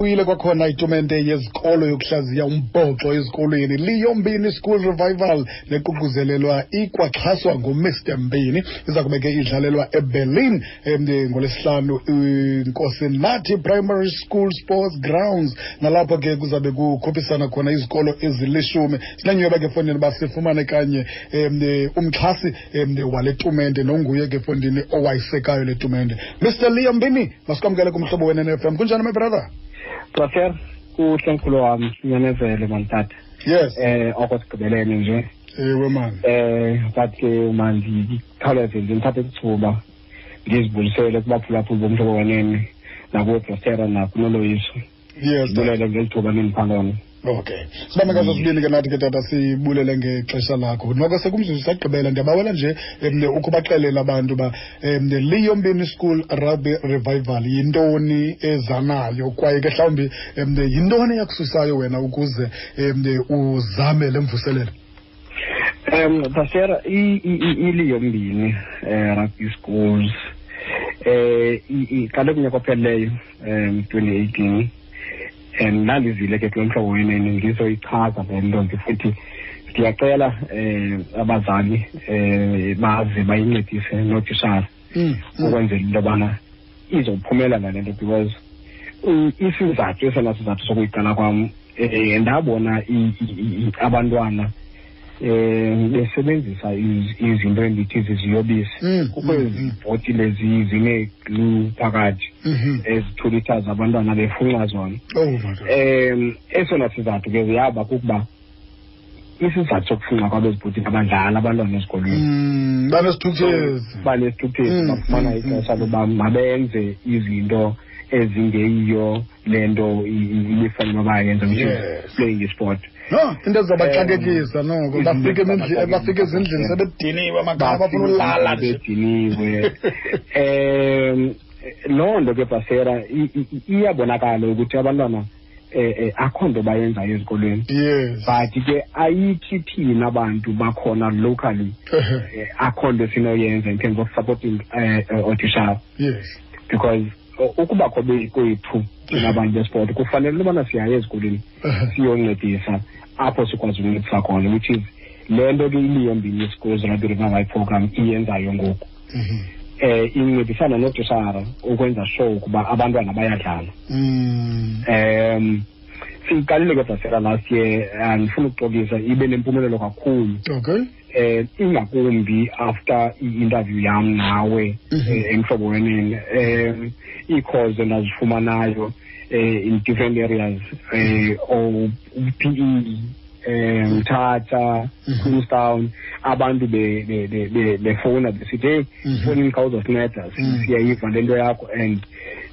uyile kwakhona itumente yezikolo yokuhlaziya umbhoxo ezikolweni liyombini school revival neququzelelwa ikwaxhaswa ngumr mbini iza kubeke idlalelwa eberlin em, ngolwesihlanu inkosinathi primary school sports grounds nalapho ke kuzabe kukhuphisana khona izikolo ezilishumi sinenyweba ke fondini uba sifumane kanye em, eh, umxhasi em, wale tumente nonguye ke fondini owayisekayo le tumente mr leo mbini masikwamkele kumhlobo wenenfm kunjani my brother Professor, kuhle mkhulu wami sinyanezele mantata yes eh okosigqibelene nje ewe mani eh but ke mandikhawuleze nje ndithathe ithuba ndizibulisele kubaphulaphula bomhlobo wenene nakuwebhostera nakunoloyiso yes ndibulele ngeli thuba nindiphangona okay sibambe ngazo sibini ke nathi ke tata sibulele ngexesha lakho noko sekumzuzu sagqibela ndiyabawela nje em, ukubaxelela abantu uba um liyombini school rugby revival yintoni ezanayo kwaye ke mhlawumbi um yintoni eyakususayo wena ukuze um uzame le mvuselelo um basera iliyombini um rugby schools eh i- i- kaloku nyaka opheleleyo um 2018 um ndandizile ke kulo mhlobo wenene ndizoyichaza le nto nje futhi ndiyacela um abazali um baze bayincedise nootishara Mm, mm. ukwenzela into yobana izophumelela le nto because i- isizathu esona sizathu sokuyiqala kwam um ndabona i- i- i- i- abantwana um besebenzisa iz- izinto endithi ziziyobisi Mm, kukho mm, ezi bhotile zi- zineglu phakathi Mhm. ezithulithaza abantwana befunxa zona oh my god um esona sizathu ke ziyaba kukuba isizathu sokufunxa kwabo ezibhotile abadlala abantwana ezikolweni Mm, banesithukuthezi Mm, banesithuphezi bafumana mm, ixesha mm. loba mabenze izinto ezingeyiyo le nto ibifanele uba yenze which Yes. is playing isport no into ezizobaxakekisa noko izinto bafike emindle- ezizobaxakekisa. bafike ezindlini sebediniwe amakhaya bafuna ulala nje bediniwe um loo nto ke basera i- i- iyabonakala ukuthi abantwana eh, eh, akho nto bayenzayo ezikolweni yes but ke ayithi thina bantu bakhona locally eh, akho nto sinoyenza in terms of supporting eh, eh, otishara yes because uh, ukubakho be- kwethu thina bantu besport kufanele into yobana siyaya ezikolweni Mm-hmm. siyoncedisa apho sikwazi ukuncedisa khona which is le nto ke iliyombini schools rugby revival program iyenzayo ngoku Mhm. eh incedisana notishara ukwenza sure ukuba abantwana bayadlala Mm. um siyiqalile ke bhasela last year andifuna ukuxokisa ibe nempumelelo kakhulu okay eh ingakumbi after i-interview yam nawe Mhm. eh, emhlobo wenene um ii-calls endazifumanayo eh in different areas eh o PE um Tata Mhm. Queenstown abantu be- be- be- be- befowuna eh, besithi hey Mhm. fowunini khawuzosinceda si- Mm. siyayiva le nto yakho and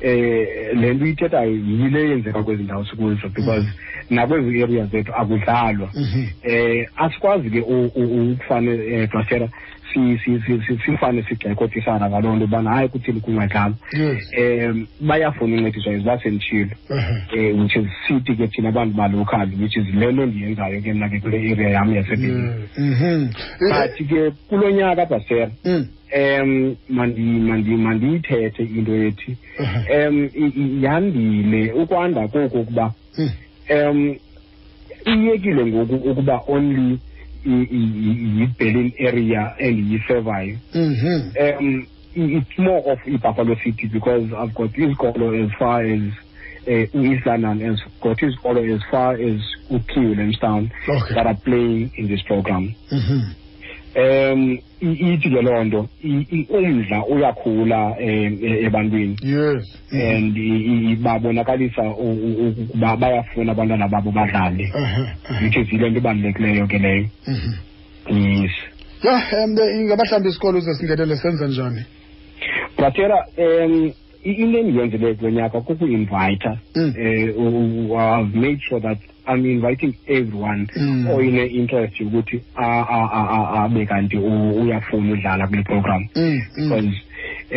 eh le nto uyithethayo yile yenzeka kwezi ndawo sikuzo because nakwezi areas zethu akudlalwa Mhm. eh asikwazi ke u- u- ukufane eh Dr. si si si si- sifane sigxekothisana ngaloo nto bana hayi kuthini kungadlala yes um bayafuna incediswa izibasenditshilo Uh-huh. um which is sithi ke thina bantu balokhali which is le nto ndiyenzayo ke mna ke kule area yam yasebini Yeah. Mhm. but ke kulo nyaka basera Mm. um mandi- mandi- mandiyithethe into ethi Uh-huh. um i- i- yandile ukwanda koku ukuba Mm. um iyekile ngoku ukuba only i- i- i- yi-berlin area endiyisevayo Mhm. um i- it's more of ibuffalo city because i've got izikolo as far as eh, u-east london as got izikolo as far as ukhiwe lemstown Okay. that are playing in this program Mhm. um i- ithi ke loo nto i- i- umdla uyakhula um e- ebantwini Yes. Mhm. and i- i- babonakalisa u- u- ukuba bayafuna abantwana babo badlale Uh-huh. Uh-huh. which is yile nto ibalulekileyo ke leyo Mhm. yes ya um ingaba mhlawumbi isikolo uze singenele senza njani bratera um i- into endiyenzileyo kulo nyaka kukuinvayitha Mm. um i've made sure that i'm inviting everyone Mm. oyine-interest yokuthi a- a- a- a- abe kanti uh, u- uyafuna udlala kule program Mm, mm. because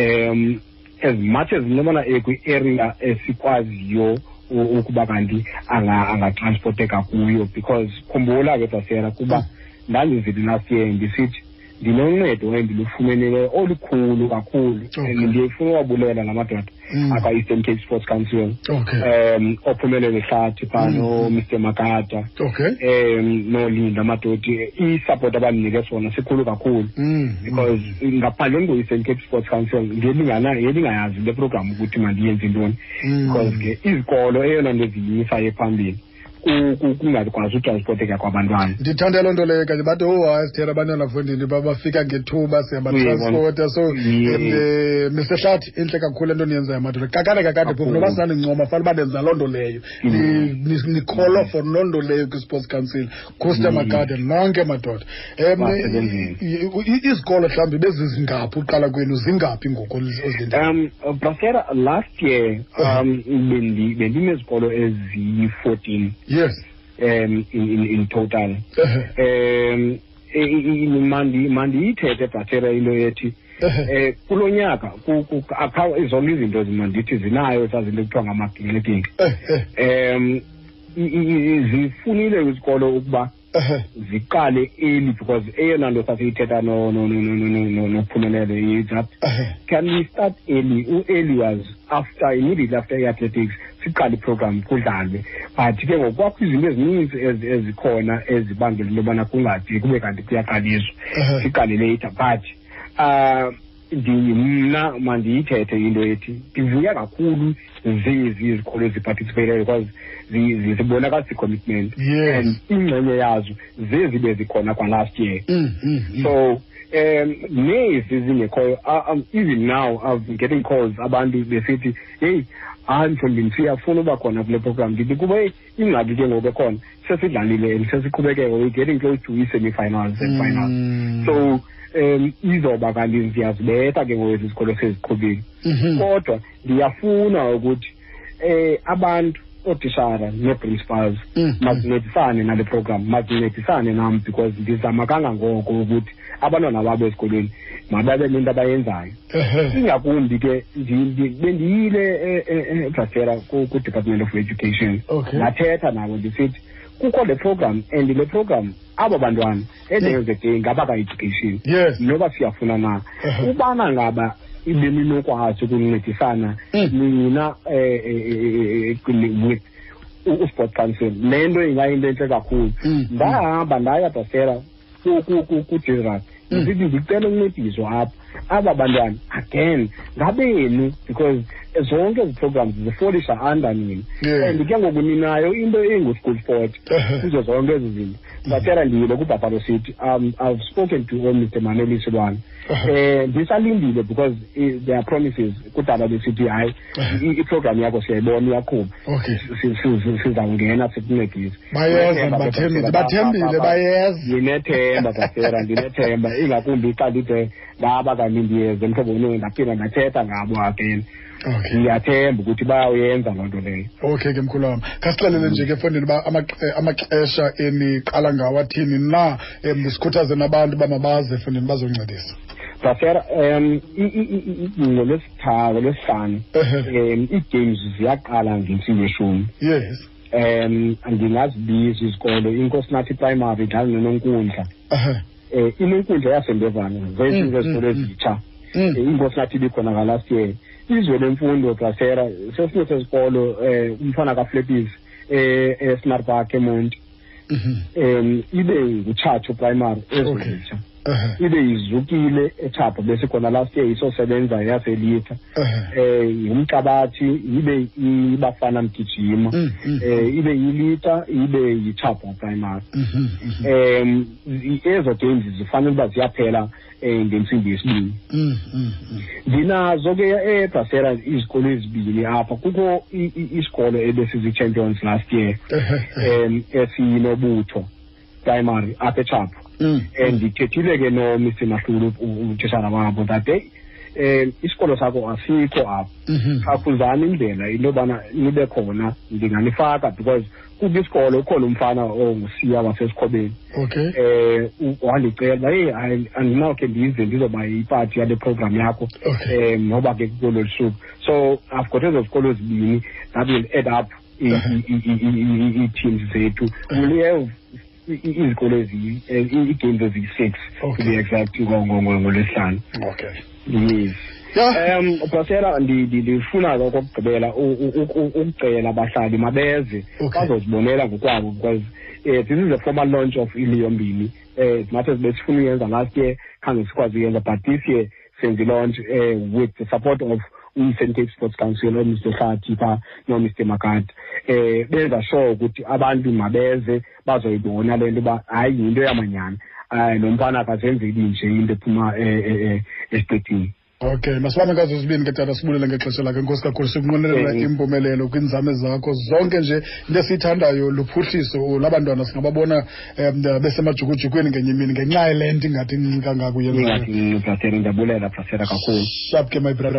um as much as nobana ekwi-area esikwaziyo u- ukuba kanti anga- angatransporteka kuyo because khumbula ke basera kuba Mm. ndandizile last year ndisithi ndinoncedo endilufumeneyo olukhulu kakhulu Okay. and ndifuna uwabulela la madoda Mm. akwa-Eastern Cape Sports Council Okay. um ophumelele hlathi phano Mm. Mr Makata Okay. um nolinda madodi i-support abaninike sona sikhulu kakhulu Mm. because ngaphandleni kwe-Eastern Cape Sports Council ngelingana- ngelingayazi le program ukuthi mandiyenze ntoni Mm. because ke izikolo eyona nto ziyisayo phambili ku- ku- kungakwazi utransporteka kwabantwana ndithanda loo nto leyo kanye bathi oh hayi sithela abantwana fondini babafika ngethuba siyabatransporta so Yeah. and, eh, mr hlathi intle kakhulu into niyenzayo madoda kakade kakade phofu Kakhulu. noba sinanincoma fanele uba nenza loo nto leyo Ni- Mm. ni- nikholwa for loo nto leyo kwi-sports council kuster Mm. magade nonke madoda um Basebenzile. i- i- izikolo mhlawumbi bezizingaphi uqala kwenu zingaphi ngoku ozilindele Um, uh, Brasera, last year, um, bendi, bendinesikolo eziyi-14 yes um, in, in, in total. Ehe, Um, e- e- e- mandi- mandiyithethe Brasera into yethi ehe. um kulo nyaka ku- ku- akha- zonke izinto zimandithi zinayo ezaa zinto kuthiwa ngama-grading Ehe, um i- i- i- zifunile izikolo ukuba ehe. ziqale early because eyona nto sasiyithetha no- no- no- no- no- no- nophumelele is that Ehe. can we start early u-early was after immediately after i-athletics siqale iprogram kudlalwe but ke ngoku kwakho izinto ezininzi ez- ezikhona ezibangela into yobana kungade kube kanti kuyaqaliswa Ehe. siqale later but um mna mandiyithethe into ethi ndivuya kakhulu zezi izikolo eziparticipateyo because zi- zi- zibonakalisa i-commitment Yes. and ingxenye yazo zezi bezikhona kwa-last year Mm, mm, mm. so um nezi zingekhoyo uh, um, even now i'm getting calls abantu besithi heyi hayi mhlawumbi ndisiyafuna uba khona kule program ndithi kuba heyi ingxaki ke ngoku ekhona sesidlalile and sesiqhubekeka we're getting close to i-semi-finals and finals Mm. so um izoba kanti ndiyazibetha ke ngoku ezi zikolo seziqhubile Mhm. kodwa ndiyafuna ukuthi um abantu ootishara nee-principals Mm. masincedisane nale program masincedisane nam because ndizama kangangoko ukuthi abantwana babo esikolweni mababe nento abayenzayo Ehe. ingakumbi ke ndi- ndi- bendiyile eh, ebrasera ku-department of education Okay. ndathetha nabo ndisithi kukho le program and le program abo bantwana endeyozeday ngabaka-education yes noba siyafuna na Ehe. ubana ngaba beninokwazi ukuncedisana Mm. nina eh, eh, eh, eh, with u- usport council le nto ingayinto entle kakhulu Mm. ndahamba ndaya basela kudirat Mm. ndisithi ndicela uncediso apha aba bantwana again ngabenu e because zonke ezi programs zifolisha under nina Yeah. and ke ngoku ninayo into engu-school sport Ehe. kuzo zonke ezi zinto ndacela ndiyile kubhapalo city um i've spoken to omr maneli silwane Eh. um ndisalindile because eh, there are promises kudala besithi hayi Ehe. i- iprogram yakho siyayibona iyaqhuba okay Si- si- si- sizawungena sikuncedise bayeza Ndinethemba, ndibathembile Brasera. bathembile Ba- ba- ba- bayeza ndinethemba brasera ndinethemba ingakumbi xa ndide ngaba kanti ndiyeze mhlobonweni ndaphinda ndathetha ngabo akena okay ndiyathemba ukuthi bayawuyenza loo nto leyo okay ke mkhulu wam khasixelele nje ke efondini uba amax- eh, amaxesha eniqala ngawo athini na um sikhuthaze nabantu uba mabaze efondini bazoncedisa brasera um ngolwesithathu lwesihlanu Ehe. um ii-games ziyaqala ngentsi yeshumi yes um ndingazibiza izikolo inkosinathi primary njalo nenonkundla Ehe. um inonkundla yasembevane Mm, zezinto mm, ezikolo mm. ezitsha Mm. um inkosinathi ibikhona ngalast year izwe lemfundo brasera sesinye sesikolo um umfana kaflepis um esinarpark emonti Mhm. um ibe ngutshatsho primary Okay. ezolitsha Ehe. ibe yizukile ethapha besikhona last year isosebenza yaselitha Ehe. um yumqabathi ibe ibafana mgijima Mm, mm. um ibe yilita ibe yithapha primary Mhm, mhm. um ezo games zifanele uba ziyaphela um ngentsimbi yesibini Mm, mm, mm. ndinazo ke ebrasera izikolo ezibini apha kukho i- i- e isikolo ebesizii-champions last year Ehe. Ehe. um esiyinobutho primary apha etshapho Mm. and ndithethile Eh, ke nomr mahlulu u- utishara wabo that day um isikolo sakho asikho apha Mhm. akhuzani indlela into yobana nibe khona ndinganifaka because kukho isikolo ukhona umfana ongusiya wasesikhobeni okay um wandicela uba heyi hayi, andinawukhe ndize ndizoba yipati yale program yakho Okay. um noba ke kulo lusuku so i've got ezo zikolo zibini that will add up i- i- i- i- i- i- ii-teams zethu will have i- i- izikolo eziyi- eh, i- ii-games eziyi-six to Okay. be exact ngo- ngo- ngo- ngolwesihlanu okay yes ya um bhasera ndi- ndi- ndifuna ke okokugqibela u- u- u- u- ukucela abahlali mabeze Okay. bazozibonela ngokwabo because um this is a formal launch of iliyombini um nathi besifuna uyenza last year khange sikwazi uyenza but this year senze ilaunch um with the support of umsentate sports council omr hlathi phaa nomr makati um benza sure ukuthi abantu mabeze bazoyibona le nto uba hayi yinto yamanyani um lo mfana akazenzeli nje into ephuma eh, eh, eh, esiqedini okay masibambe ngazo zibini ke tata sibulele ngexesha lakhe nkosi kakhulu sikunqwenelela Mhm. impumelelo kwiinzame zakho zonke nje into esiyithandayo luphuhliso labantwana singababona um besemajukujukwini ngenye imini ngenxa yele nto ingathi incinci kangako yenzayo ingathi bhasera ndiyabulela bhasera kakhulu sharp ke my brother